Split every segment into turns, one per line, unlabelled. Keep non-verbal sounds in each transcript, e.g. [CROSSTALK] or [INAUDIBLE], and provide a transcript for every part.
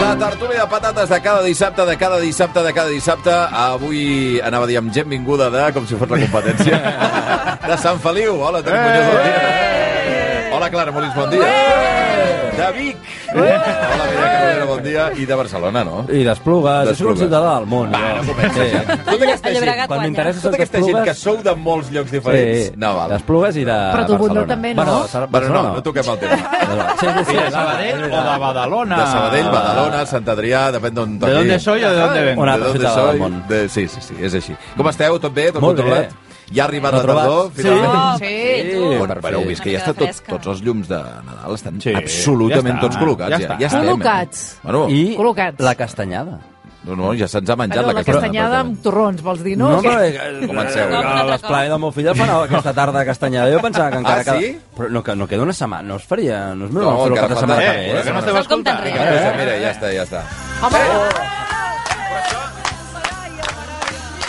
La tertúlia de patates de cada dissabte, de cada dissabte, de cada dissabte. Avui anava a dir amb gent vinguda de, com si fos la competència, de Sant Feliu. Hola, tenim Muñoz del Tira. Hola, Clara Molins, bon dia. De Vic. Hola, Mireia Carolina, bon dia. I de Barcelona, no?
I d'Esplugues. Jo soc un
D'Esplugues.
ciutadà del món.
Va,
jo.
no comença,
Sí.
ja. Tota
Lle-
aquesta
el
gent,
Llobregat
Quan
guanya.
m'interessa
tota
soc
aquesta gent que
d'Esplugues...
sou de molts llocs diferents.
Sí,
No, val.
d'Esplugues i de
Però tu, Bundó,
Barcelona.
també, no?
Bueno, de Sar-
Bueno, no,
Barcelona.
no toquem el tema.
Bueno, Sí, sí, sí.
de Sabadell o de Badalona?
De Sabadell, Badalona, Sant Adrià, depèn d'on
¿De dónde soy o de dónde vengo?
Una
de
altra
d'on
ciutat del
soy.
món.
De... Sí, sí, sí, és així. Com esteu? Tot Mm. bé? Tot
Molt
controlat? Ja ha arribat la
Retrobat?
tardor,
Sí.
finalment?
Oh,
Sí,
sí, tu.
Sí.
Bueno,
per
però heu
fi.
vist que ja
Una
està
mica de
tot,
fresca.
tots els llums de Nadal estan
Sí,
absolutament
ja està,
tots col·locats.
ja
Ja,
està.
ja estem. eh?
Col·locats.
Bueno, I...
I
Col·locats.
la castanyada.
no, no, ja se'ns ha menjat
Allò,
la,
la castanyada amb torrons, vols dir, no? Que-
eh,
Comenceu.
eh, a L'esplai del meu fill el farà aquesta tarda a Castanyada. Jo pensava que encara...
Ah, sí?
cada- Però no, que, no queda una setmana, no es faria... No es meu,
No,
no, fer-ho
encara
cap de
falta-
setmana que
eh,
ve.
que
eh?
no
esteu
Se'n compten
escoltant.
res.
Vinga, Rosa, Mira, ja està, ja està. Ha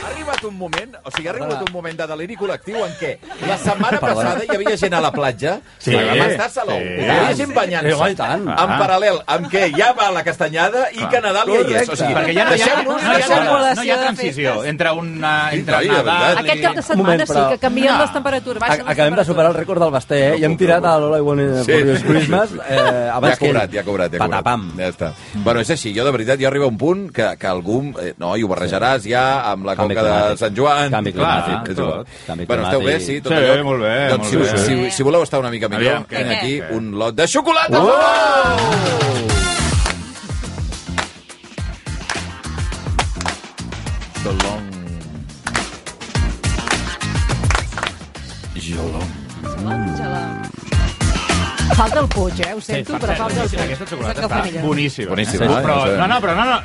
arribat un moment, o sigui, ha arribat un moment de deliri col·lectiu en què la setmana
Perdona.
passada hi havia gent a la platja,
Sí.
sí, amb estar salou,
Sí.
hi havia gent
Sí, home,
banyant-se,
i tant.
en paral·lel amb què ja va la castanyada i que Nadal ja hi és. O sigui,
Perquè ja no hi ha, no
deixeu-nos...
hi
deixeu-nos-
ha, no hi ha,
Acumulació de
transició
festes.
entre, una, entre
Sí, de veritat.
Nadal i...
Aquest cap de setmana
moment, però-
sí que canvien
No.
les temperatures.
A,
Baixen les
acabem de superar el rècord del Basté, eh? I hem tirat a l'Ola i One
Sí,
for Your
sí, sí,
Christmas
sí.
eh,
Ja
abans
ha cobrat,
que
ja ha
ell.
cobrat, ja ha cobrat.
Patapam.
Ja està. Bueno, és així, jo de veritat, jo arriba un punt que, que algú, eh, no, i ho barrejaràs ja amb la
Canvi
coca de
climàtic.
Sant Joan.
Canvi climàtic,
és
tot.
igual.
Canvi
Bueno, esteu bé,
climàtic.
sí? Tot
Sí,
allò?
molt bé,
Doncs si,
molt
bé.
Si, si voleu estar una mica millor,
Aviam,
Aviam, tinc
què?
aquí
Què?
un lot de xocolata. Oh! The long... Jolong. Mm.
Falta el Puig, eh? Ho sento,
Sí,
però
per
falta el
cert,
Puig.
Aquesta xocolata
Sóc el
està
família.
boníssima.
Boníssima, eh?
Però,
Sí.
no, no, però no, no.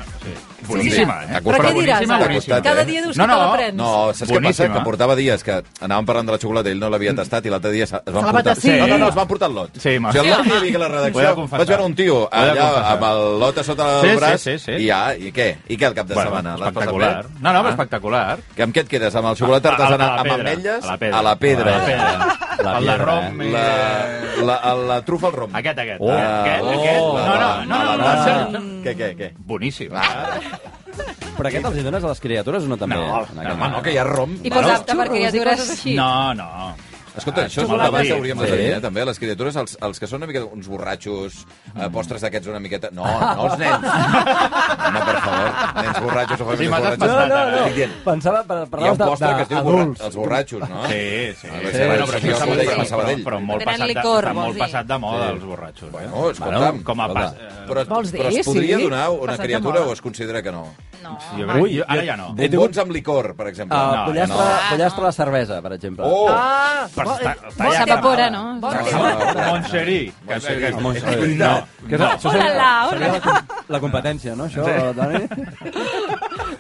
Boníssima,
Sí, sí.
eh?
Però
Però
què diràs,
boníssima,
ara?
boníssima.
Cada
dia dius
no,
que te
no,
la prens.
eh? No, saps què passa?
Boníssima.
Que portava dies que anàvem parlant de la xocolata, ell no l'havia tastat i l'altre dia es es van
la va
portar...
tastar.
No, no, no, es
Sí.
van portar el lot.
Sí,
o
ma.
sigui, l'altre dia vinc a la
Ho he de
redacció,
confessar.
vaig veure un tio
Ho he de
allà
confessar.
amb el lot a sota del
Sí, sí,
braç
sí, sí.
i ja, i què? I què el cap de
Bueno,
setmana? L'has passat bé? Ah.
espectacular. No, no, però espectacular.
Que amb què et quedes? Amb el xocolata
A- a la-
artesana,
a la
amb
pedra,
ametlles?
a la pedra.
A la pedra.
La eh?
A la pedra. El de
pedra,
rom...
La, la, la, la trufa al rom.
Aquest, aquest.
Oh.
Aquest,
Oh.
aquest.
La-
No, no,
la-
no,
la-
no,
la-
no, no.
Què, què, què?
Boníssim.
Però aquest els hi dones a les criatures o no també?
No,
En
No,
aquest-
home, no, que hi ha rom.
I pots apte perquè ja dures així.
No, no.
Escolta, això és un
Xocolata.
debat que hauríem de
Sí.
tenir, eh, també, les criatures, els, els que són una mica uns borratxos, eh, postres d'aquests una miqueta... No, no els nens. Home, per favor, nens borratxos o
Sí,
famílies
m'has
No,
borratxos.
despertat.
no, no.
Estic dient,
Pensava, per,
Hi ha un
parlaves
postre que es diu borra...
d'adults.
els borratxos, no? Ah,
Sí, sí.
bé,
sí,
sí,
bueno,
sí,
però
sí, sí,
això està molt,
sí, sí,
però,
sí.
però molt,
Tenen
passat,
licor,
de, està
vols
molt
dir.
passat de moda, els borratxos. eh?
Bueno, escolta'm,
Bueno,
Com a pas... eh,
però,
Vols dir,
però es podria
sí?
donar una
Passat de
criatura
moda.
o es considera que no?
No.
Jo crec, jo, ara ja no.
He
Un
tingut-
bons amb licor, per exemple.
Uh,
No,
pollastre,
no.
pollastre a la cervesa, per exemple.
Oh!
Ah,
Per-
bo-
està-
eh,
està
bon
ja
tema.
S'evapora, no?
Bon
No,
tema.
no, no.
Montxerí. que-
Montxerí.
que-
Home, això-
És veritat.
Que és, això seria,
Hola, hola.
seria la, com- la competència, no, això, Dani?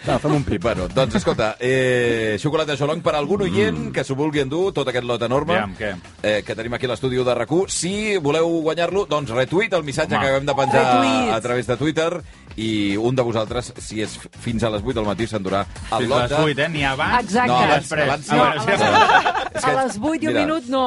Va, fem un pip.
Bueno, doncs escolta, eh, xocolata Xolong per algun oient mm. que s'ho vulgui endur, tot aquest lot enorme
Aviam, què?
eh, que tenim aquí a l'estudi de rac Si voleu guanyar-lo, doncs retuit el missatge
Home.
que acabem de penjar
Retuit.
a través de Twitter i un de vosaltres, si és fins a les 8 del matí, s'endurà el
Fins
lot
les
de...
8, eh? Ni abans
Exacte.
No,
ni
abans,
després.
abans
Ah,
no.
bueno, sí,
No,
abans.
És
A les 8 i un
mira,
minut, no.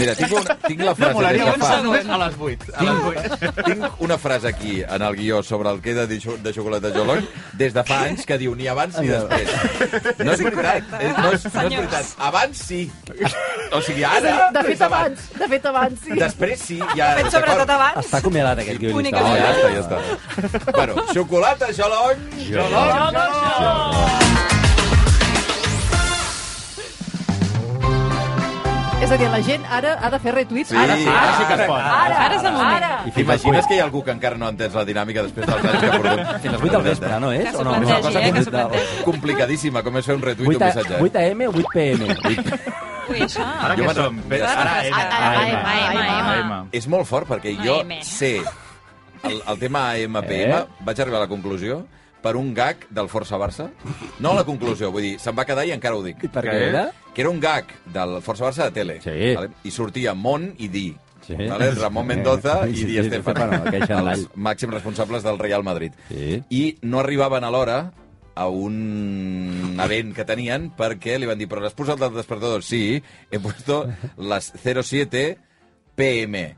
Mira, tinc, un, tinc la
No,
frase des
molaria
de fa...
avançar només a les 8. A les 8.
Tinc una frase aquí, en el guió, sobre el que he de dir xo- de xocolata Jolong, des de fa anys, que diu ni abans ni després. No és veritat, eh, no és, no és veritat. Abans sí. O sigui, ara...
De fet,
és
abans. De fet, abans, sí.
Després sí,
[LAUGHS]
ja...
Fent sobretot abans.
Està acomiadat aquest guionista.
No, ja està, ja està. Bueno, xocolata Jolong... Jolong!
És a dir, la gent ara ha de fer retuits. Ara sí.
Ara sí que es pot.
Ara,
Ara és el moment.
Ara.
T'imagines que hi ha algú que encara no ha entès la dinàmica després dels anys que ha portat?
Fins les 8 del vespre, no és?
Que
O
s'ho
no?
plantegi,
Una cosa
eh, que s'ho
complicada.
plantegi.
Complicadíssima, com és fer un retuit o
8,
un missatge.
8 AM, 8 PM.
Ui, això...
Ara
Jo
què
me'n-
som? Pe- Ara
Ah,
M.
ah,
ah, ah,
M.
ah,
M.
És molt fort, perquè jo
AM.
sé el, el tema AMPM, eh? vaig arribar a la conclusió per un gag del Força Barça. No a la conclusió, vull dir, se'm va quedar i encara ho dic.
I per què
Què?
era?
Que era un gag del Força Barça de tele.
Sí.
Vale? I sortia Mon i Di.
Sí.
Vale? Ramon Mendoza
Sí,
i
sí,
Di
sí, Estefano,
Estefano,
aquell xandall.
els màxims responsables del Real Madrid.
Sí.
I no arribaven a l'hora a un event que tenien perquè li van dir, però l'has posat al despertador? Sí, he puesto les 07 PM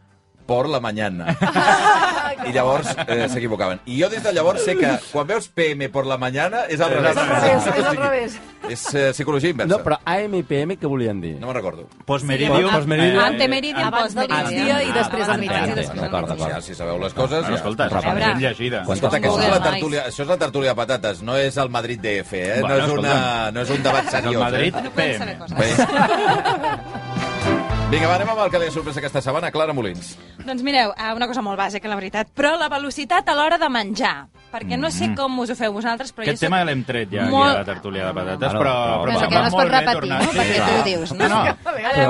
por la mañana.
[LAUGHS]
I llavors eh, s'equivocaven. I jo des de llavors sé que quan veus PM por la mañana és al revés.
És al revés, és al revés.
És eh, psicologia inversa.
No, però AM i PM què volien dir?
No me'n recordo.
Postmeridium.
Postmeridium.
Antemeridium,
Abans del
postmeridium.
migdia i després del migdia.
D'acord, d'acord. Ja, si sabeu les coses...
Bueno,
ja.
escolta, és
A veure.
gent llegida.
Quan
Escolta, que això és,
Google
la
Maps.
tertúlia, això és la tertúlia de patates, no és el Madrid DF, eh?
Bueno,
no, és una,
escolta.
no és un debat
És el
seriós.
Madrid
No podem saber
PM.
coses.
Eh? Bé. Vinga, va, anem amb el que li ha sorprès aquesta setmana, Clara Molins.
Doncs mireu, eh, una cosa molt bàsica, la veritat, però la velocitat a l'hora de menjar. Perquè no sé com us ho feu vosaltres, però
Mm. Aquest
jo
tema l'hem tret ja,
Molt- Ah,
aquí a la tertúlia de patates,
Bueno,
però,
però-
però,
Penso
em
que
va
no es pot
molt bé
repetir,
tornar.
no?
Sí,
Perquè
clar.
tu ho dius, no?
No,
A veure,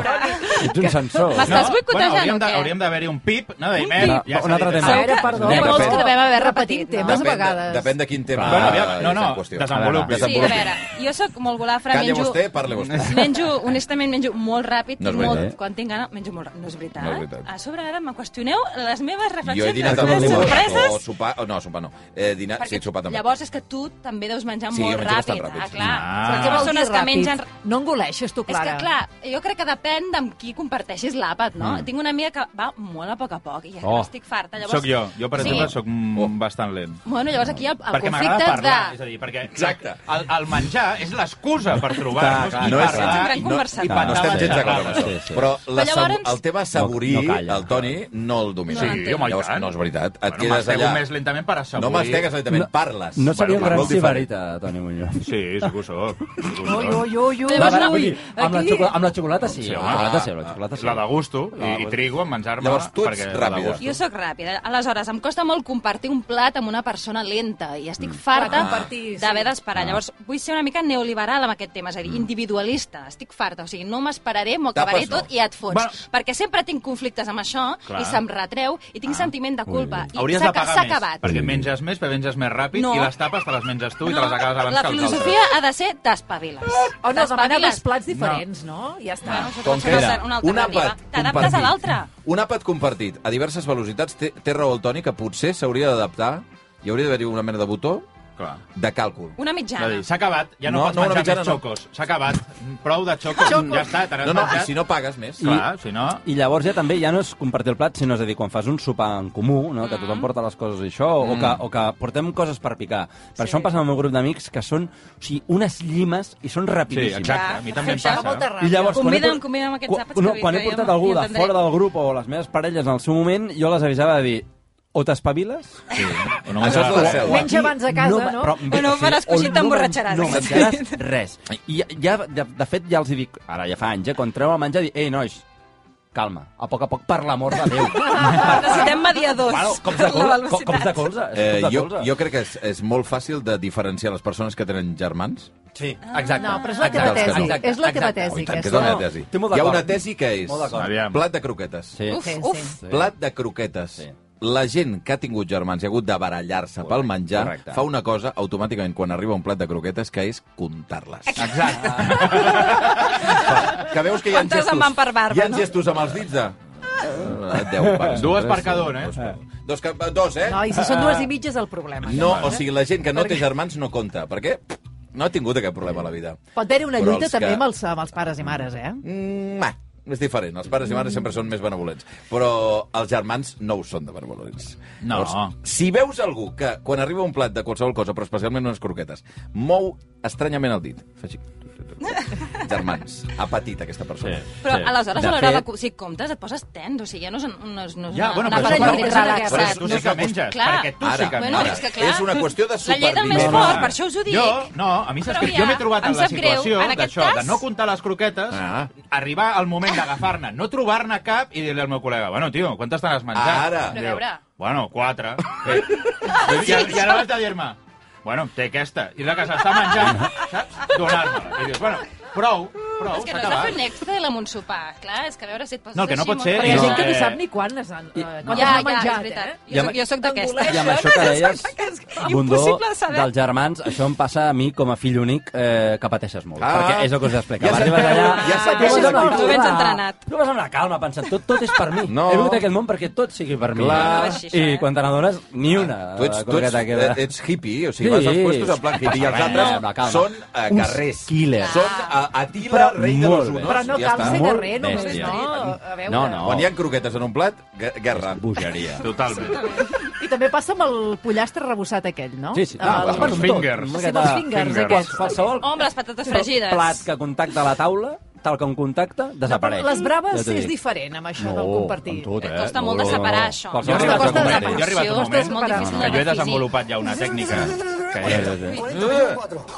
Ets un censor.
M'està- Estàs boicotejant,
bueno, hauríem
o
de-
què? Ah,
Hauríem d'haver-hi un pip, no? De,
pip.
eh, ja
Un altre
s'ha dit,
tema.
A
això.
veure, perdó,
Anem a
però...
fer.
devem haver repetit,
temes a
Depèn, de,
vegades.
depèn de quin tema
Bueno, aviam, no,
és en
no,
qüestió.
desenvolupi.
Sí, a veure, jo sóc molt golafra,
Calla
menjo...
vostè, parle vostè.
Menjo, honestament, menjo molt ràpid,
No és
molt,
veritat. eh?
quan tinc gana, menjo molt ràpid. No és veritat.
No és veritat.
A sobre ara me qüestioneu les meves reflexions,
Jo he dinat
les
amb
meves
el
sorpreses...
o sopar, o no, sopar no. Eh, dinar, sí, sopar també.
Llavors és que tu també deus menjar
Sí, jo
molt
menjo bastant
ràpid.
ràpid.
Ah, clar.
Ah.
Són
Però què vol dir
persones que
ràpid?
mengen...
No engoleixes tu,
És
Clara.
que, clar, jo crec que depèn d'amb qui comparteixis l'àpat, no? Mm. Tinc una amiga que va molt a poc a poc i ja
Oh.
oh. estic farta. Llavors...
Soc jo. Jo, per
Sí.
exemple, soc
Oh.
mm, bastant lent.
Bueno, llavors aquí el, el
perquè
conflicte
m'agrada
és
parlar, és
de...
a dir, perquè
Exacte.
el, el menjar és l'excusa per
Clar,
trobar-nos
clar,
i
no és-
parlar.
Ets un gran
i-
conversador.
i
Ah, no estem
patar
gens
les
d'acord amb
xerrades.
això.
Sí, sí.
Però, la
Però llavors-
sab- el tema saborir,
No- no calla.
el Toni, no el domina.
No l'entenc. Sí,
home, i
Llavors,
tant.
no és veritat. Et
Bueno,
quedes
m'estego
allà...
més lentament per assaborir.
No m'estegues lentament,
No-
parles.
No seria
Bueno,
un gran
molt diferent.
ciberita, Toni Muñoz.
Sí, sí que ho soc. sí que ho soc.
Ui, ui, ui, ui.
Va, va,
ui.
vull dir, amb, la
Aquí-
xocolata, amb la xocolata sí,
Sí,
amb
home.
la xocolata sí, amb la xocolata sí.
La de gusto, i, i trigo en menjar-me.
Llavors, tu ets
perquè la
ràpida.
de gusto.
Jo sóc ràpida. Aleshores, em costa molt compartir un plat amb una persona lenta i estic farta
Ah. Compartir, sí.
d'haver d'esperar. Llavors, vull ser una mica neoliberal amb aquest tema, és a dir, individualista. Estic farta, o sigui, no m'esperaré, m'ho
Tapes
acabaré
no.
tot i et fots.
Bueno.
Perquè sempre tinc conflictes amb això
Clar.
i se'm retreu i tinc sentiment de culpa. I
Hauries
s'ha-
de pagar
S'ha
més,
acabat.
perquè
Mm.
menges més, però menges més ràpid,
No.
i les tapes te les menges tu i te les acabes abans
la
que els altres.
filosofia ha de ser t'espaviles.
O Oh, no, demanar
T'espaviles.
dos plats diferents, no? Ja està.
Bueno, això
Com
pot
que
ser
era?
una, una alternativa. T'adaptes a l'altre.
Un àpat compartit a diverses velocitats té, té raó el Toni que potser s'hauria d'adaptar hi hauria d'haver-hi una mena de botó
Clar.
de càlcul.
Una
És a
mitjana.
dir, S'ha acabat, ja no,
No,
pots
no, una
menjar
mitjana
més
no.
xocos. S'ha acabat. Prou de xocos, ja està, te n'has
No, no, i
menjat.
si no pagues més.
Clar, si no...
I llavors ja també ja no és compartir el plat, sinó és a dir, quan fas un sopar en comú, no? que
Mm.
tothom porta les coses i això, o,
Mm.
que, o que portem coses per picar. Per això em passa amb el meu grup d'amics, que són o sigui, unes llimes i són
Sí,
rapidíssimes.
exacte, a mi també em
Això fa
passa.
molta
I llavors, quan he
Convida'm,
port-
convida'm aquests
quan-
àpats
no,
que
quan he
jo-
portat
jo-
algú
jo
de
tindré.
fora del grup o les meves parelles en el seu moment, jo les avisava de dir o t'espaviles
Sí. No
Això és la
m'agrada.
selva.
Menja abans a casa, no?
O no faràs
o
coixí,
no
t'emborratxaràs.
men- No menjaràs res. I ja, ja, de, de fet, ja els hi dic, ara ja fa anys, eh, quan treu el menjar, dic, ei, nois, calma, a poc a poc, per l'amor de
[LAUGHS]
Déu.
Necessitem mediadors.
Bueno, cops de
per la
colze, co-
velocitat.
cops de colze.
Eh,
cops de
jo,
colze.
jo crec que és, és molt fàcil de diferenciar les persones que tenen germans.
Sí, exacte.
No, però és la teva
Exacte,
tesi.
exacte,
És la teva
exacte.
Oh,
tesi,
i tant, que és
aquesta.
una
No,
tesi.
estic molt
Hi ha una
d'acord.
tesi que és
Molt d'acord.
Aviam.
plat de croquetes.
Sí.
Uf,
Sí, sí.
uf.
Plat de croquetes.
Sí.
La gent que ha tingut germans i ha hagut de barallar-se pel menjar
correcte.
fa una cosa automàticament quan arriba un plat de croquetes que és comptar-les.
Exacte.
[LAUGHS] que veus que hi ha
Quantes
gestos.
en van per barba,
hi ha
no?
gestos amb els dits de... Eh, Deu, va,
Dues
tres,
per cada un, eh?
Dos, per- dos, que- dos, eh?
No, i si són dues i mitja és el problema. eh?
No, o sigui, la gent que no té germans no compta, perquè no ha tingut aquest problema a la vida.
Pot haver-hi una
Però
lluita
els
també
que-
amb els, amb els pares i mares, eh?
Mm, ah, és diferent. Els pares i mares sempre són més benevolents. Però els germans no ho són de benevolents.
No.
si veus algú que, quan arriba un plat de qualsevol cosa, però especialment unes croquetes, mou estranyament el dit, fa així... Germans, ha patit aquesta persona. Sí.
Però
Sí.
aleshores,
De
a l'hora de...
fet-
co- Si comptes, et poses tens. O sigui, ja no és, no és, no és
Ja,
una,
bueno,
una
però
cosa
això-
de llibre
però-
relaxat.
Però és que tu
No
sí
és
que
una qüestió-
menges,
Clar.
perquè tu sí que
Ara,
Bueno,
ara.
és
menges.
que clar...
És una qüestió de
La llei del més
supervivència.
fort, per això us ho dic.
Jo, no, a mi saps
Però
que
ja,
jo m'he trobat
em
en la
sap greu,
situació
en aquest
d'això, de
cas.
no comptar les croquetes,
Ah.
arribar al moment d'agafar-ne, no trobar-ne cap i dir-li al meu col·lega, bueno, tio, quantes te n'has menjat?
Ara.
Però a
Diu,
veure.
Bueno, quatre. Eh. I, i, I ara vaig a dir-me, bueno, té aquesta, i la que s'està menjant, saps? Donar-me-la. I dius, bueno, prou, Prou,
és que
s'ha
no és la
acabat.
Fenexta i la Montsopà, clar, és que a veure si et poses
No, el que no
així
pot ser
amb
Però hi
un-
ha
No,
gent que ni
eh.
sap ni quan es han, eh, quan
Ja,
ja,
ja,
han
és
menjat,
veritat.
eh?
Jo, soc- jo soc d'aquesta.
I amb això que deies, Bundó,
Impossible saber.
dels germans, això em passa a mi com a fill únic eh, que pateixes molt.
Ah.
perquè és el que us explica.
Ja
Ja
se't
Arribes
veu,
allà... Ah,
ja se't
veu
tu vens amb
l'actitud.
una
Tu vens
calma.
entrenat.
Tu vas amb la calma, pensant, tot, tot és per mi.
No.
He vingut a aquest món perquè tot sigui per mi.
Clar. Ah,
No va així, això,
I
eh?
quan te n'adones, ni una.
Tu ets,
de
tu
cosa que
ets,
t'ha quedat.
ets hippie, o sigui,
Sí.
vas als puestos en plan hippie. I els
Res,
altres
amb la calma.
són eh, a
Uns
carrers.
killers.
Ah.
Són a, a Tila,
Però
rei de
molt
los
bé.
unos.
Però no
ja
cal
està.
ser
Molt
guerrer, només,
bèstia.
no? A veure.
No, no.
Quan hi ha croquetes en un plat, gue- guerra.
Bogeria.
Totalment.
I també passa amb el pollastre rebussat aquell, no?
Sí, sí.
Ah,
va,
el-
bueno,
tot.
fingers.
Una
Sí,
miqueta-
amb els fingers,
Qual-
aquests.
Qualsevol
O amb les patates fregides.
plat que contacta a la taula, tal com contacta, desapareix.
Les braves
Ja t'ho
és
dic.
diferent amb
No,
això del compartir.
amb tot, eh?
Costa molt
No,
de
no, no.
separar, això.
Jo he
Qualsevol
Costa
arribat a un
de
moment,
separar.
jo he arribat a un
Ostres,
moment
molt difícil
que jo
de
he desenvolupat ja una tècnica que és...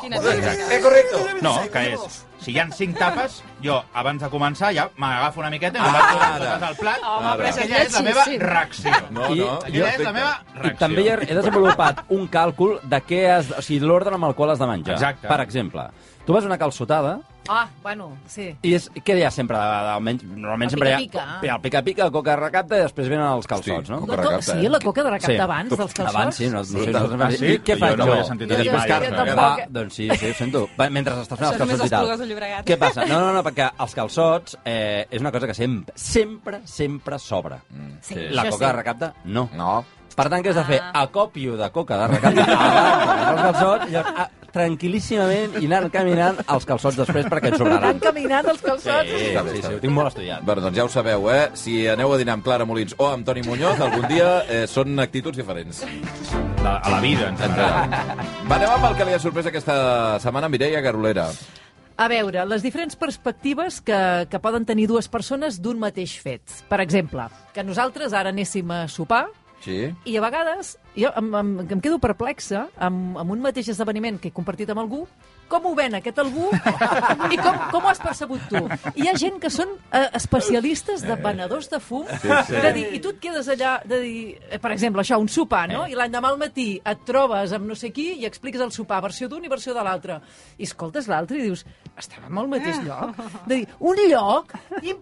Quina tècnica.
Eh, correcte.
No, que és... Si hi ha cinc tapes, jo, abans de començar, ja m'agafo una miqueta i
Ara.
me'n vaig donant totes al plat.
Home,
Ara.
però això és
Aquella és la meva
lletjíssim.
reacció.
No,
I-
no.
Aquella és
perfecte.
la meva
I
reacció.
també he, he desenvolupat un càlcul de què has, o sigui, l'ordre amb el qual has de menjar.
Exacte.
Per exemple, tu vas a una calçotada
Ah, bueno, sí.
i és, què hi ha sempre? De, de, almenys, normalment
El
sempre
pica-pica.
hi ha el pica-pica, el coca recapta i després venen els calçots,
Hosti,
no?
coca
La co-
recapta,
sí,
eh?
la coca de recapta
Sí.
abans dels calçots.
Abans, sí, no, no sé, no,
Ah, sí?
I què
Jo
faig
no
jo?
ho he sentit
I
a dir
després
mai,
carn,
això.
carn.
Va,
Tampoc.
doncs sí, sí, ho sento. Va, mentre estàs fent
Això
els
només
calçots i
a Esplugues de
tal.
Llobregat.
Què passa? No, no, no, perquè els calçots eh, és una cosa que sempre, sempre, sempre sobra.
Sí,
la
això
coca de
sí.
recapta, no.
No.
Per tant, què has de fer?
Ah.
Acòpio de coca de recapta abans dels calçots i llavors, ah, tranquil·líssimament i anant caminant els calçots després perquè et sobraran.
Van caminant els calçots.
Sí,
Està bé,
sí,
està
sí,
bé.
ho tinc molt estudiat.
Bueno, doncs ja ho sabeu, eh? Si aneu a dinar amb Clara Molins o amb Toni Muñoz, algun dia eh, són actituds diferents.
La- A la vida, en general.
Va, anem amb el que li ha sorprès aquesta setmana, Mireia Garolera.
A veure, les diferents perspectives que, que poden tenir dues persones d'un mateix fet. Per exemple, que nosaltres ara anéssim a sopar
Sí?
i a vegades jo em, em, em quedo perplexa amb, amb un mateix esdeveniment que he compartit amb algú, com ho ven aquest algú i com, com ho has percebut tu. Hi ha gent que són eh, especialistes de venedors de fum, de dir, i tu et quedes allà, de dir, eh, per exemple, això, un sopar, no? I l'endemà al matí et trobes amb no sé qui i expliques el sopar, versió d'un i versió de l'altre. I escoltes l'altre i dius, estàvem al mateix lloc? De dir, un lloc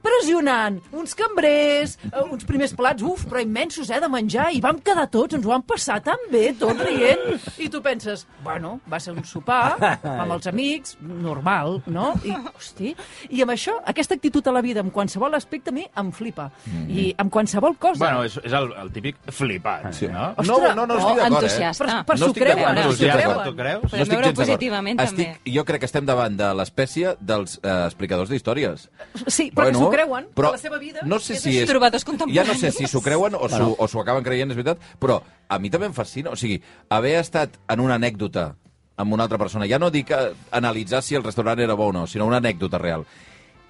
impressionant, uns cambrers, eh, uns primers plats, uf, però immensos, eh, de menjar, i vam quedar tots, ens ho vam passar tan bé, tots rient, i tu penses, bueno, va ser un sopar, amb els amics, normal, no? I, hosti, i amb això, aquesta actitud a la vida, amb qualsevol aspecte, a mi em flipa.
Mm-hmm.
I amb qualsevol cosa.
Bueno, és, és el, el típic flipat, sí. no?
Ostres,
no, no, no estic d'acord, eh?
oh, entusiasta.
Per, per
No
s'ho
estic
creuen, eh?
d'acord, no
s'ho
estic
Entusiasta,
d'acord.
tu
creuen.
creus?
Però veure-ho
gens d'acord.
positivament,
estic,
també.
Jo crec que estem davant de l'espècie dels eh, explicadors d'històries.
Sí, però que s'ho creuen, que la seva vida
No sé
és
si
així.
és,
Trobadors
ja
contemporanis.
no sé si s'ho creuen o s'ho o s'ho acaben creient, és veritat, però a mi també em fascina. O sigui, haver estat en una anècdota amb una altra persona, ja no dic eh, analitzar si el restaurant era bo o no, sinó una anècdota real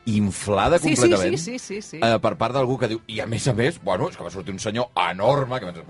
inflada
Sí, sí,
completament
sí, sí, sí, sí.
Eh, per part d'algú que diu i a més a més, bueno, és que va sortir un senyor enorme que penso,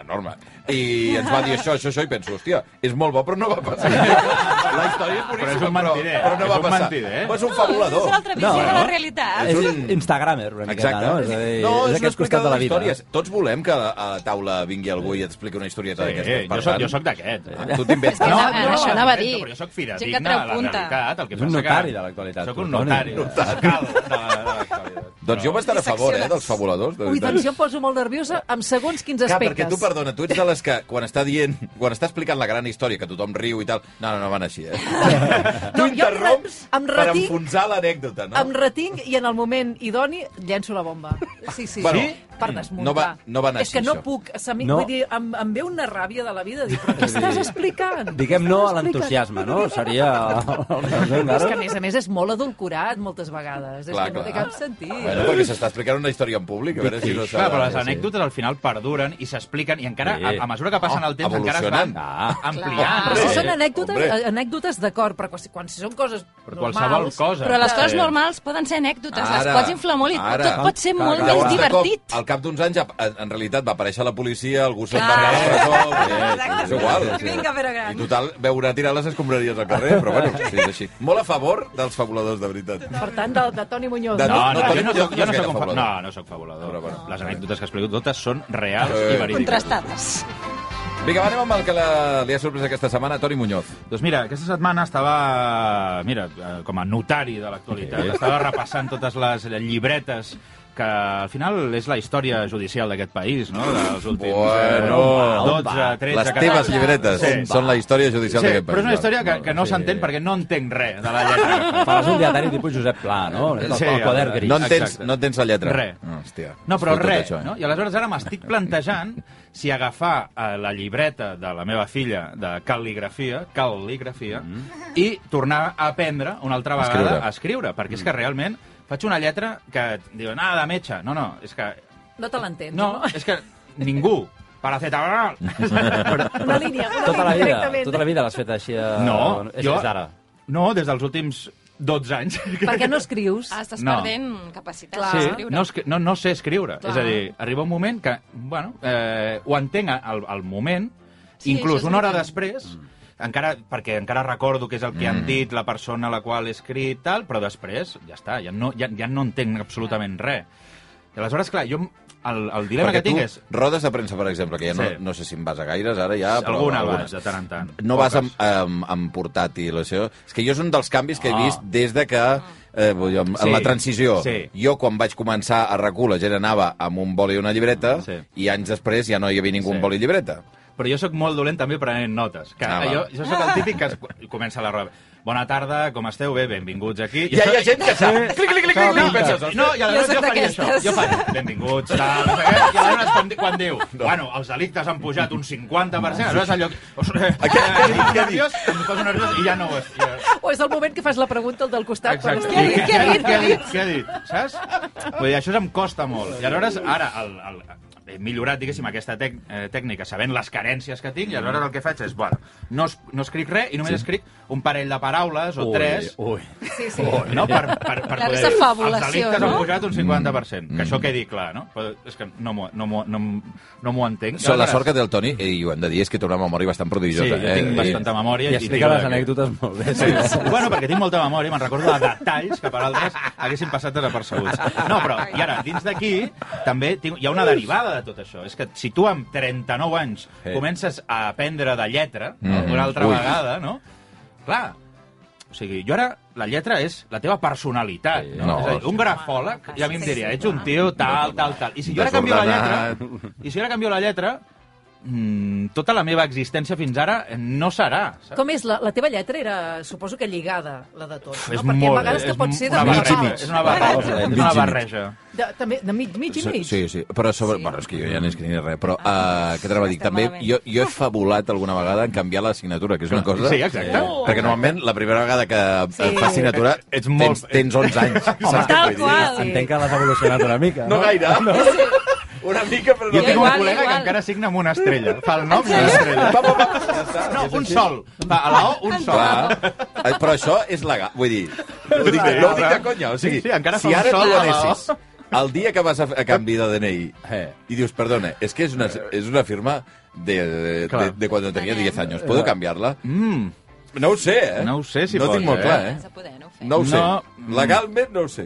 enorme i ens va dir això, això, això i penso, hòstia, és molt bo però no va
[LAUGHS]
passar la història és boníssima
Però és un mentider,
però, però no
és
va
un
passar
mentider, eh?
però és un
És
fabulador
una altra visió
No,
de
no.
la realitat.
És
És
un-
un Instagramer, una miqueta,
Exacte.
no? És, a dir,
no, és,
aquest costat de la vida.
d'històries. Tots volem que a la taula vingui algú i et expliqui una historieta
Sí,
d'aquestes. Per
jo soc,
tant,
jo soc d'aquest. Eh?
Tu t'inventes.
[LAUGHS]
És
No,
que anava-
no,
això anava a dir.
Però jo soc
Gent que
fidedigna
treu
a la
punta.
realitat. El que
Ets un
passa que-
notari de l'actualitat,
Soc un
tu, Toni.
notari. Escal de la- de l'actualitat.
doncs jo vaig estar a favor, eh, dels fabuladors. de
Ui,
veritat.
doncs jo em poso molt nerviosa amb segons quins
Clar,
aspectes.
perquè tu, perdona, tu ets de les que, quan està dient, quan està explicant la gran història, que tothom riu i tal, no, no, no van
[LAUGHS]
així, eh? tu
jo em re-
interromps
em
per
retinc-
enfonsar l'anècdota, no?
Em retinc i en el moment idoni llenço la bomba. Sí, sí.
Bueno,
sí? Per desmuntar.
no va- no va anar
És que
així,
no
això.
puc... Se mi,
No.
Vull dir, em, em ve una ràbia de la vida dir, però què
[LAUGHS]
estàs explicant?
Diguem no a
Estàs explicant?"
l'entusiasme, no? Seria...
[LAUGHS] És que, a més a més, és molt edulcorat moltes vegades.
Clar,
és que no té
clar.
cap sentit.
Bueno, perquè s'està explicant una història en públic, a veure si no s'ha...
Clar, però les anècdotes al final perduren i s'expliquen i encara,
Sí.
a, a mesura que passen
Oh,
el temps, encara es van
evolucionen.
Ah.
ampliant.
Però si
Hombre.
són anècdotes,
eh,
eh,
Hombre.
anècdotes d'acord, però quan, quan si són coses
Per
normals...
qualsevol cosa.
Però les coses
Eh.
normals poden ser anècdotes,
Ara,
les pots inflar molt i
ara.
tot pot ser
Clar,
molt
clar,
més
clar.
de cop,
divertit.
Al cap d'uns anys, ja, en- en realitat, va aparèixer la policia, algú se'n va
Clar.
anar a la presó...
Exacte.
És igual.
Vinga, però gran.
I total, veurà tirar les escombraries al carrer, però bueno, sí, és així. Molt a favor dels fabuladors, de veritat.
Per tant, de, de Toni Muñoz.
De-
No,
No,
no, jo no soc, jo
no
no
és gaire
soc, un fa-
fabulador.
no, no soc fabulador.
Però bueno.
Les anècdotes que explico totes són reals
Eh.
i verídiques.
Contrastades.
Vinga, va, anem amb el que la... li ha sorprès aquesta setmana, Toni Muñoz.
Doncs mira, aquesta setmana estava, mira, eh, com a notari de l'actualitat,
Sí.
estava repassant totes les llibretes que al final és la història judicial d'aquest país, no?, dels últims eh,
Bueno,
on
12,
va?
13,
Les teves llibretes
Sí.
són la història judicial
Sí,
d'aquest país.
però és una història que,
Bueno,
que no
sí.
s'entén perquè no entenc res de la
[LAUGHS]
lletra.
Faràs un dietari tipus Josep Pla, no? El,
Sí,
el quadern
el-
gris.
No entens,
Exacte.
no entens la lletra.
Re.
Hòstia.
No, però
Escolta tot
res,
això, eh?
no? I aleshores ara m'estic plantejant si agafar eh, la llibreta de la meva filla de cal·ligrafia, cal·ligrafia, i tornar a aprendre una altra vegada
Mm. Escriure. Mm.
a escriure, perquè és que realment faig una lletra que et diuen, ah, de metge. No, no, és que...
No te l'entens,
No, és que ningú.
[LAUGHS]
Paracetamol.
Una línia, una
Tota la vida,
línia directament.
tota la vida l'has fet així. De...
No,
és,
jo-
és d'ara.
No, des dels últims 12 anys.
Per què no escrius?
Ah, estàs
No.
perdent capacitat
Clar.
Sí,
d'escriure.
no, escri- no, no sé escriure.
Clar.
És a dir, arriba un moment que, bueno, eh, ho entenc al, al moment,
Sí,
sí,
això
inclús
és
una hora
veritat.
després, encara, perquè encara recordo que és el que
Mm.
han dit la persona a la qual he escrit, tal, però després, ja està, ja no, ja, ja no entenc absolutament res. I aleshores, clar, jo... El, el dilema
Perquè
que
tu
tinc és...
rodes de premsa, per exemple, que ja no,
Sí.
no sé si en vas a gaires ara ja, però
alguna vaig, de tant en tant.
No vas amb,
Poques.
amb, amb portàtil, això. És que jo és un dels canvis que he
No.
vist des de que... Eh, vull dir, amb, sí,
Sí,
la transició.
sí.
Jo, quan vaig començar a recu, la gent anava amb un boli i una llibreta, sí.
Sí.
i anys després ja no hi havia ningú sí.
Sí.
amb boli i llibreta.
Però jo sóc molt dolent també prenent notes. Que
Ah,
ah,
va.
jo, jo sóc el típic que es, comença la roba. Bona tarda, com esteu? Bé, benvinguts aquí.
Ja hi ha gent que sap.
Eh?
Clic, clic, clic, clic,
No,
clic, penses,
no, i
Jo
aleshores jo,
sóc
faria això.
d'aquestes.
Jo faria, benvinguts, tal, no sé què. I aleshores quan, di- quan diu, bueno, els delictes han pujat un 50%, aleshores allò... Ostres, eh, nerviós, em poso nerviós i ja no ho és. Ja,
O és el moment que fas la pregunta al del costat?
Exacte.
Quan...
dit? Què ha dit?
Què ha dit? Què ha dit? Saps? Vull dir, això em costa molt. I aleshores, ara, el, el, he millorat, diguéssim, aquesta tec, eh, tècnica, sabent les carències que tinc, i aleshores el que faig és, bueno, no, es, no escric res i només sí. escric un parell de paraules o tres,
Ui,
Sí, sí.
Oh, no? Per, per, per
Clar,
poder
aquesta
dir,
fabulació,
Els delictes
no?
han pujat un 50%, que això quedi clar, no? Però és que no m'ho no, m'ho- no, m'ho- no m'ho entenc.
So, la sort que té el Toni, i ho hem de dir, és que té una memòria bastant
Sí,
prodigiosa.
jo
eh?
tinc
I-
bastanta memòria.
i explica
tinc-
les anècdotes molt bé.
Sí. Bueno, perquè tinc molta memòria, me'n recordo de detalls que per altres haguessin passat desapercebuts. No, però, i ara, dins d'aquí, també tinc, hi ha una derivada de tot això. És que si tu amb 39 anys
Sí.
comences a aprendre de lletra, no?
Mhm.
una altra
Ui.
vegada, no? Clar, o sigui, jo ara la lletra és la teva personalitat.
Sí,
No?
no.
és a dir, un grafòleg ja a mi em diria, ets un tio tal, tal, tal. I si jo ara canvio la
Desordenat.
lletra, i si jo ara canvio la lletra, mm, tota la meva existència fins ara eh, no serà. Saps?
Com és? La, la teva lletra era, suposo que lligada, la de tots, no?
És
Perquè
molt, eh,
a vegades que
és
pot ser de
una
mig i
verbal.
mig.
barreja, És una barreja.
Mig i
És una
mig.
barreja.
De, també, de mig, mig i mig.
Sí, sí, però sobre... Sí. Bueno, és que jo ja no escric ni res, però uh, què t'anava a dir?
Estem
També
malament.
jo, jo he fabulat alguna vegada en canviar la signatura, que és una cosa...
Sí, exacte.
Eh, perquè normalment la primera vegada que sí. fas signatura
Ets
tens,
molt-
tens 11 [LAUGHS] anys. Saps què
Tal
vull dir?
qual.
Entenc que l'has evolucionat una mica.
No gaire. No. Una mica, però
Jo
no.
tinc
igual,
un col·lega que
igual.
encara signa amb una estrella. Fa el nom i una estrella.
Va, va, va.
No, un sol. Va, a la O, un sol.
Clar. Eh, Però això és legal. Vull dir, no ho dic, no ho dic de conya. O sigui,
eh? Sí, sí, encara
si
fa un
ara
sol
tu
a la
anessis el dia que vas a, a canvi de DNI
Eh.
i dius, perdona, és que és una, és una firma de, de, de,
Clar.
de quan tenia 10 anys. ¿Puedo canviarla?
Mm,
No ho sé, eh?
No ho sé si
No ho
pot,
tinc molt
eh?
clar,
Has
eh?
de poder-ho fer.
No ho sé.
No.
Legalment no ho sé.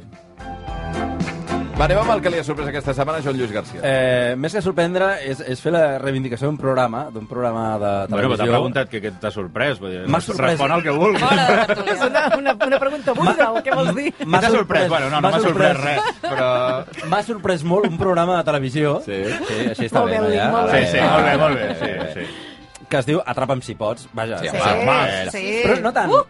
Va, anem amb el que li ha sorprès aquesta setmana, Joan Lluís García.
Eh, més que sorprendre és, és fer la reivindicació d'un programa, d'un programa de
bueno, però t'ha
televisió.
preguntat que, que t'ha sorprès. vull dir,
M'ha sorprès.
Respon el que vulguis.
Fora de
És
tertúlia.
una, una, una pregunta burda, o què vols dir?
M'ha sorprès. Bueno, no, no m'ha sorprès
sorprès.
res. Però...
M'ha sorprès molt un programa de televisió.
Sí.
sí així està
Molt
bé,
bé,
no, ja?
molt
Sí,
bé.
sí, molt bé, molt bé. Sí, sí.
Que es diu Atrapa'm si pots. Vaja,
Sí,
va,
home,
va.
eh,
sí.
Però no tant. Uh!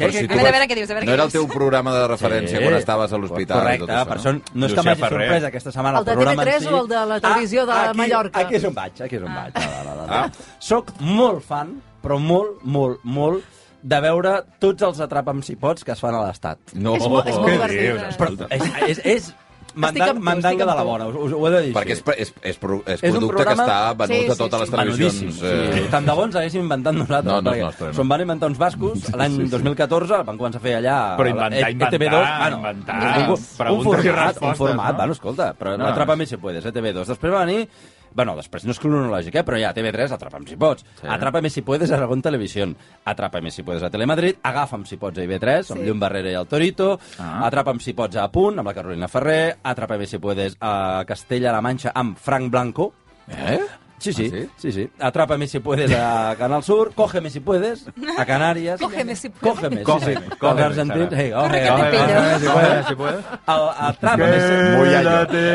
Però
Què,
si tu
què,
A
què?
veure, a
vas-
veure què dius, a veure
No
què
era el
dius.
teu programa de referència
Sí.
quan estaves a l'hospital. i
Correcte,
tot això,
per això no és que
Llucià
m'hagi
Ferrer.
sorprès aquesta setmana
El de
programa en
TV3
si. Ah,
o el de la televisió de
aquí,
Mallorca?
Aquí és on vaig, aquí és on vaig. Ah. Va, va, va, va. Soc molt fan, però molt, molt, molt, de veure tots els atrapa'm si pots que es fan a l'Estat.
No,
És molt- és molt
què
divertit,
dius?
eh?
Però és, és, és
Estic
mandang,
amb tu, estic
mandanga
amb
de la
tu.
bona, us, us ho he de dir
Perquè és,
així.
és, és, pro- és
És un
producte que
programa-
està venut
Sí,
a totes
sí,
les
sí.
Menudíssim.
televisions. eh.
eh.
Sí. Tant de bons haguéssim inventat nosaltres.
No, no, no,
perquè
nostre, no.
Se'n van inventar uns bascos l'any 2014, el van començar a fer allà... E
Però inventar,
a
inventar,
ETV2,
inventar,
ningú- Ah, un
preguntes i
format, un
respostes,
format,
no?
bueno, escolta, però no,
No,
atrapa'm si puedes, eh? ETV2. Després va venir Bueno, després no és cronològic, eh? però ja, TV3, Atrapa'm si pots. Sí. Atrapa'm si puedes a Aragón Televisió. Atrapa'm si puedes a Telemadrid. Agafa'm si pots a IB3, amb Llum Barrera i el Torito. Ah.
Ah.
Atrapa'm si pots a Punt, amb la Carolina Ferrer. Atrapa'm si puedes a Castella-La Manxa, amb Frank Blanco.
Eh?
Sí, sí,
Ah, sí?
sí, sí. Atrápame si puedes a Canal Sur, cógeme si puedes a Canàries.
Cógeme si puedes.
Cógeme, sí, sí.
Cógeme, cógeme,
Els argentins,
Sara.
hey, oje,
Corre que te
oje,
pillo.
oje, si
eh?
puedes.
si puedes.
El Atrápame si...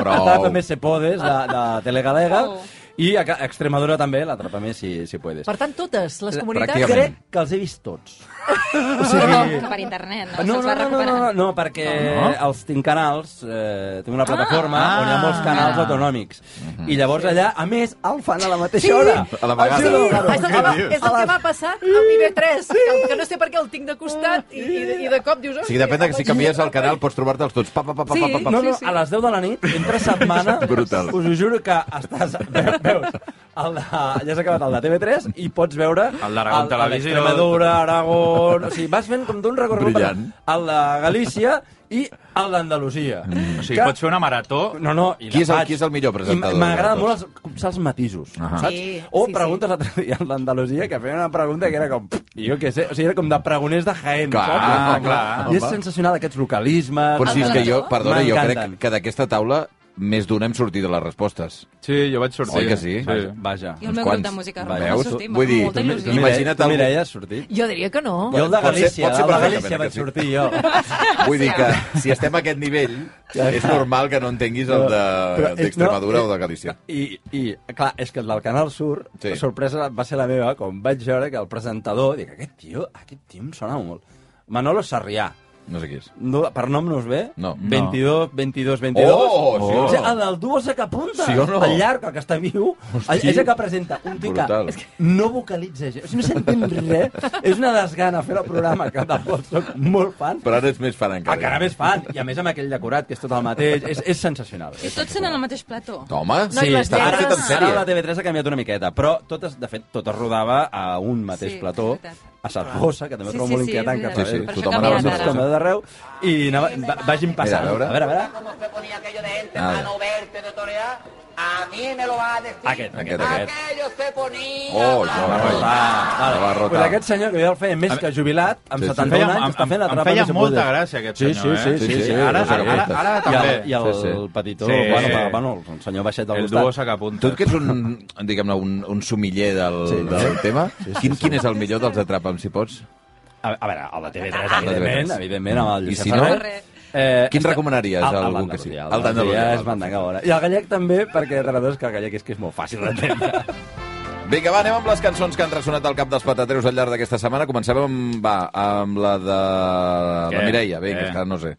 Prou.
Atrápame si puedes, de, de Telegalega.
Oh.
I a Ca- a Extremadura també, l'Atrápame si, si puedes.
Per tant, totes les comunitats...
pràcticament.
Crec que els he vist tots.
O sigui... Per internet, no?
No, no,
Se'ls va
no, no, no,
recuperant.
no, no perquè
Ah,
no?
no?
els tinc canals, eh, tinc una plataforma ah, on hi ha molts canals
Ah.
autonòmics. I llavors allà, a més, el fan a la mateixa hora.
a la vegada.
Sí,
Això
és
és raro.
el, que va, és el que m'ha passat amb IB3, que, que no sé per què el tinc de costat i, i, i de cop dius...
O sigui, depèn de que si canvies el canal pots trobar-te'ls tots. Pa, pa, pa, pa,
Sí.
pa, pa, pa.
No, no,
Sí, sí.
a les 10 de la nit, entre setmana,
[LAUGHS] Brutal.
us ho juro que estàs... ve- Veus, el de, ja s'ha acabat el de TV3 i pots veure...
El d'Aragón Televisió.
Extremadura, Aragón... O sigui, vas fent com d'un recorregut... per-
Brillant.
El de Galícia i el d'Andalusia. Mm.
O sigui, pots fer una marató...
No, no, i la
Qui és el-
faig.
qui és el millor
I
presentador
M'agrada
de
molt els, copsar els matisos, uh -huh. saps?
Sí,
o
sí,
preguntes l'altre dia a l'Andalusia que feien una pregunta que era com... Jo què sé, o sigui, era com de pregoners de Jaén,
Clar,
saps?
clar,
I és
home.
sensacional, aquests localismes...
Però si és que jo, perdona, jo crec
M'encanten.
que d'aquesta taula més d'una hem sortit a les respostes.
Sí, jo vaig sortir.
Oi que sí?
sí.
Vaja, vaja.
I el meu
Quants?
grup de música rock
Veus?
va sortir amb
Vull dir,
molta
mi-
il·lusió.
mi- Imagina't
tu,
algú-
Mireia, has sortit?
Jo diria que no.
Jo el de
Pot ser-
Galícia,
pot ser
el de
perfectament
Galícia
que
vaig
sí.
sortir jo.
Vull dir que si estem a aquest nivell, és normal que no entenguis el de-
Però,
d'Extremadura
no, eh.
o de Galícia.
I, I, clar, és que el del Canal Sur,
Sí.
sí. la sorpresa va ser la meva, quan vaig veure que el presentador, dic, aquest tio, aquest tio em sona molt. Manolo Sarrià.
No sé qui és.
No, per nom no us ve?
No.
22, 22, 22.
Oh, sí o no?
O sigui, el del duo és el que apunta.
Sí o no?
El llarg, el que està viu,
Hosti.
és el que presenta un tio que
Brutal.
és que no vocalitza. gens. O sigui, no s'entén res. és una desgana fer el programa, que tampoc soc molt fan.
Però ara ets més fan encara.
Encara Ah, més fan, i a més amb aquell decorat, que és tot el mateix, és, és sensacional.
I tots són al mateix plató.
Home,
No, i les
està
lletres-
Ah, fet en
Ara la
sèrie.
TV3 ha canviat una miqueta, però totes, de fet, totes rodava a un mateix
Sí,
plató,
és veritat.
a Saragossa, que també
Sí,
trobo
sí,
molt
sí,
inquietant,
és
que
veritat.
Sí, sí,
apareix
Per
tothom
això
anava a
canvien ara.
Saragossa.
com a d'arreu, i anava, va, vagin passant.
Mira, a veure.
a veure, a veure.
¿Cómo se ponía aquello de gente
Ah.
para no verte tutorial? A mí me lo va a decir.
Aquest, aquest, aquest.
Aquello se ponía.
Oh, no,
Va,
no, no.
vale.
Va rotar.
Pues aquest senyor que jo el feia més que jubilat, amb
Sí, sí.
71
Feia-
anys, està fent la
em- em
trapa
feia
que se
molta
puede.
gràcia, aquest
sí,
senyor,
sí,
eh?
Sí, sí,
Sí, sí,
sí.
ara-
sí,
ara-
sí.
ara també.
I el, i el
Sí, sí.
petitó,
Sí.
bueno, va, bueno, el senyor baixet del
El
costat.
duo s'acapunta.
Tu que ets un, diguem-ne, un, un sumiller del,
Sí.
del tema, quin, quin és el millor dels atrapa'm, si pots?
A, a veure, el de TV3,
Ah,
evidentment,
TV3.
evidentment, amb
I
el Lluís
si no?
Ferrer. Eh,
Quin
està-
recomanaries,
El,
algú
el
que sigui?
d'Andalusia.
El
El
d'Andalusia,
d'Andalusia
el
és mandanga a vora. I el gallec també, perquè de vegades que el gallec és que és molt fàcil
[LAUGHS]
d'entendre.
Vinga, va, anem amb les cançons que han ressonat al cap dels patateros al llarg d'aquesta setmana. Comencem amb, va, amb la de la
Què?
Mireia. Vinga,
Què?
és que no sé.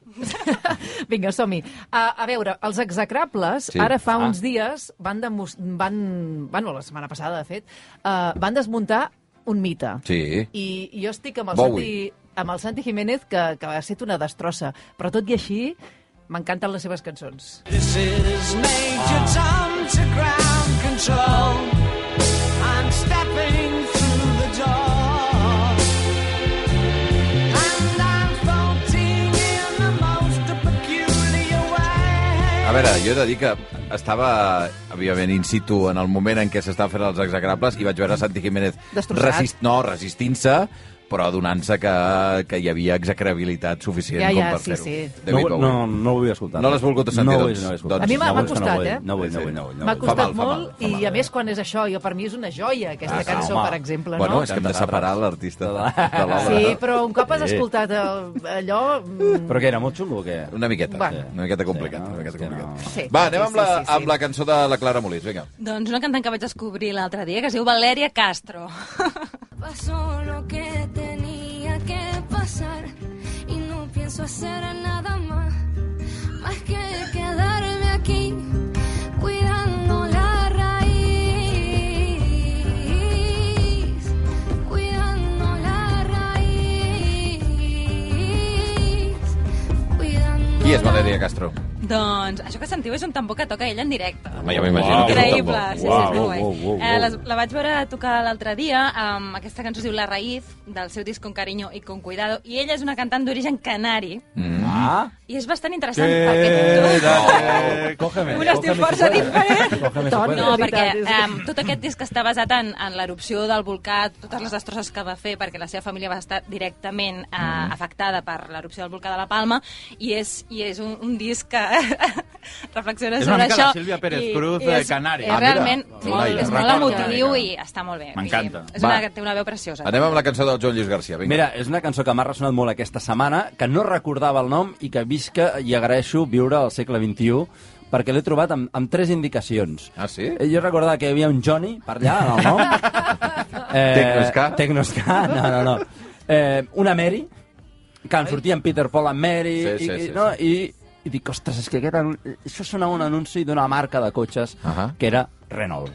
Vinga, som-hi. A, a veure, els execrables,
Sí.
sí. ara fa ah. uns dies, van, demos- van, bueno, la setmana passada, de fet, uh, van desmuntar un mite.
Sí.
I, i jo estic amb el,
Bowie.
Santi, amb el Santi Jiménez, que, que ha estat una destrossa. Però tot i així, m'encanten les seves cançons.
This is Major Tom to ground control. I'm stepping through the door. And I'm floating in the most peculiar way.
A veure, jo he de dir que estava, òbviament, in situ en el moment en què s'estaven fent els execrables i vaig veure Santi Jiménez
Destrossat.
no, resistint-se, però adonant-se que, que hi havia execrabilitat suficient
Ja, ja,
com per
sí,
fer-ho.
sí.
David
no,
Bowie.
no, no ho vull escoltar.
No l'has volgut sentir,
no ho
doncs.
Vull, no ho vull escoltar.
Doncs
A mi m'ha-
No
m'ha
vull, no
costat,
vull,
eh?
No vull, no vull, no vull. no vull.
M'ha
mal, fa
costat
mal,
molt,
fa mal,
i
eh?
a més quan és això, jo per mi és una joia aquesta
Ah,
cançó,
home.
per exemple,
Bueno,
no?
és que hem de separar l'artista de de l'obra.
Sí, però un cop has
Sí.
escoltat el, allò... mm,
Però què, era molt xungo o què?
Una miqueta,
Bueno.
una miqueta complicat.
Sí, no,
una miqueta
és que
complicat.
no.
Sí,
Va, anem
sí,
amb la,
sí, sí.
amb la cançó de la Clara Molins, vinga.
Doncs una cantant que vaig descobrir l'altre dia, que es diu Valeria Castro.
[LAUGHS] Pasó lo que tenía que pasar y no pienso hacer nada más, más que quedarme aquí cuidando la raíz, cuidando la raíz, cuidando.
Qui és
la
Valeria Castro?
Doncs això que sentiu és un tambor que toca ella en directe.
Home, ja m'imagino que és un
Increïble,
tambor.
sí, sí, és molt guai. Eh, la, la vaig veure tocar l'altre dia, amb aquesta cançó es diu La Raïz, del seu disc Con Cariño i Con Cuidado, i ella és una cantant d'origen canari,
Mm.
Ah, eh,
i és bastant interessant perquè...
cógeme.
Un estil força diferent.
Cógeme si
Dona.
puedes.
No,
Veritat,
perquè
és que-
um, tot aquest disc està basat en, en l'erupció del volcà, totes les destrosses que va fer, perquè la seva família va estar eh,
Mm.
directament uh, afectada per l'erupció del volcà de la Palma, i és, i és un, un disc que [LAUGHS] reflexiones
És una
sobre
mica
això.
la Sílvia Pérez Cruz de Canàries.
És
Ah, mira.
realment
Laia,
molt, és molt
recorda,
emotiu i
Laia.
està molt bé.
M'encanta.
Vull dir, És una
Va.
que té una veu preciosa.
Anem amb la cançó del Joan Lluís Garcia. Vinga.
Mira, és una cançó que m'ha ressonat molt aquesta setmana, que no recordava el nom i que visca i agraeixo viure al segle XXI perquè l'he trobat amb, amb tres indicacions.
Ah, sí?
Eh, Jo recordava que hi havia un Johnny per allà, en el nom. eh,
[LAUGHS] Tecnosca.
Tecnosca, no, no, no. Eh, una Mary, que en sortia en Peter, Paul and Mary,
Sí,
i,
sí, sí,
i, no? I, i dic, ostres, és que aquest, anun- això sona a un anunci d'una marca de cotxes
Ahà.
que era Renault.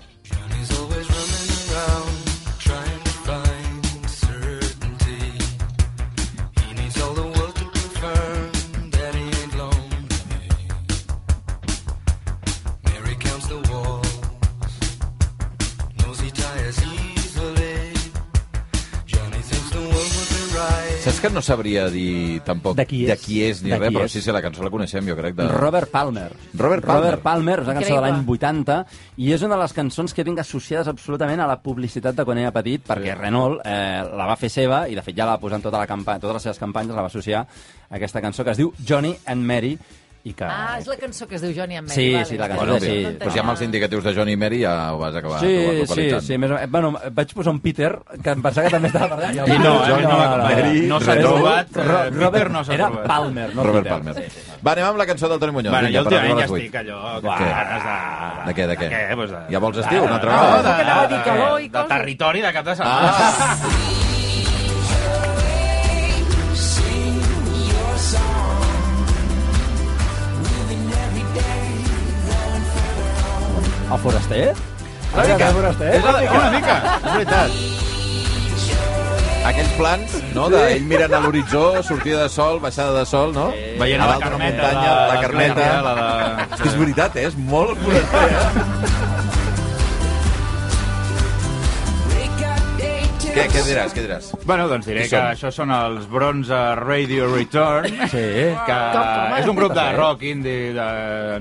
Saps que no sabria dir tampoc
De qui és.
de qui és ni
De
res,
qui
però
és.
sí, sí, la cançó la coneixem, jo crec. De...
Robert Palmer.
Robert Palmer.
Robert Palmer, és una cançó de l'any
Increïble.
80, i és una de les cançons que tinc associades absolutament a la publicitat de quan era petit, perquè Renault eh, la va fer seva, i de fet ja la va posar en tota la campa totes les seves campanyes, la va associar a aquesta cançó que es diu Johnny and Mary, i que...
Ah, és la cançó que es diu Johnny and Mary.
Sí,
vale.
sí, la cançó
Bueno,
sí,
sí,
sí.
Doncs ja amb els indicatius de Johnny i Mary ja ho vas acabar
Sí, sí,
localitzant.
sí. Més o... menys. Bueno, vaig posar un Peter, que em pensava que també estava parlant.
I no, eh, no va acompanyar. No s'ha
Renault,
trobat, eh,
Ro-
Peter
Robert
no s'ha
era
trobat.
Palmer, no
Robert
Peter.
Palmer. Va, anem amb la cançó del Toni Muñoz.
Bueno,
Vinga,
jo
per arribar a
últimament ja
les vuit.
estic allò...
De
que
què?
ganes
De què, de què?
De què? Pues de...
Ja vols estiu, una altra
No,
vegada?
de,
Ah, que anava a dir calor i
de,
coses.
territori de cap de setmana.
Ah,
El Foraster?
Una mica.
El Foraster?
És la-
Una mica.
És veritat.
eh.
Aquells plans, no?, d'ell mirant a l'horitzó, sortida de sol, baixada de sol, no?
[LAUGHS] Veient
a
la
l'altra
Carmeta.
muntanya, la, Carmeta.
La, la,
És que és veritat, eh? És molt foraster, eh? què, què diràs, què diràs?
Bueno, doncs diré
Qui
que
són?
això són els Bronze Radio Return, sí. que
com, eh?
és un grup de rock indie de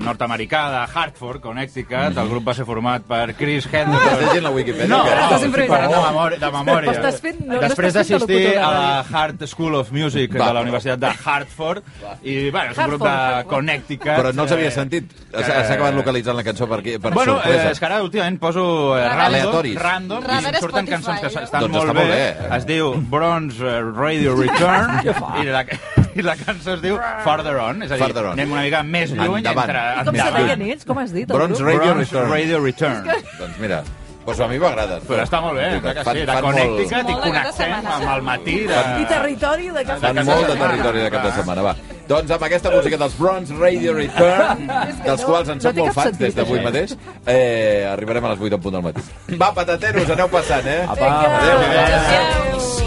nord-americà de Hartford, Connecticut. El grup va ser format per Chris
Mhm. Estàs
Henderson.
llegint la Wikipedia?
No,
encara?
Estàs
estic
improvisant.
parlant de memòria. De memòria.
Però estàs fent- no, no
Després
estàs fent de
d'assistir
locutor de
a la
ràdio.
Hart School of Music
Va.
de la Universitat de Hartford. I, bueno, és un grup de
Hartford,
Connecticut.
Però no els havia
eh,
sentit.
que-
S'ha s'ha acabat localitzant la cançó per, aquí, per
bueno,
sorpresa.
eh, és que ara últimament poso eh, random,
Aleatoris.
random i
Radar
surten
Spotify,
cançons que s-
no?
estan
Doncs
molt,
està molt
bé.
bé.
Es diu Bronze eh, Radio
[LAUGHS]
Return i la, i la cançó es diu Farther On, és a dir,
Farther On.
anem una mica més lluny
Endavant.
entre...
I com se deien ells? Com has dit? el
Bronze
grup?
Radio
Bronze
Return.
Radio Return.
Doncs mira, doncs a mi m'agrada.
Però està molt bé,
Diu que
clar que
fan-
sí, de
fan molt-
Connecticut i
Molt de cap de
connectem
setmana.
amb el matí de...
I territori de cap
Fan molt de territori de cap
Ah.
de setmana, va. Doncs amb aquesta música dels Bronze Radio Return,
[LAUGHS]
dels quals en
no
som
té
molt
cap
fans
sentit,
des d'avui
això.
mateix, eh, arribarem a les 8 en punt del matí. Va, patateros, aneu passant, eh?
Apa,
Adéu, adéu.
Adéu.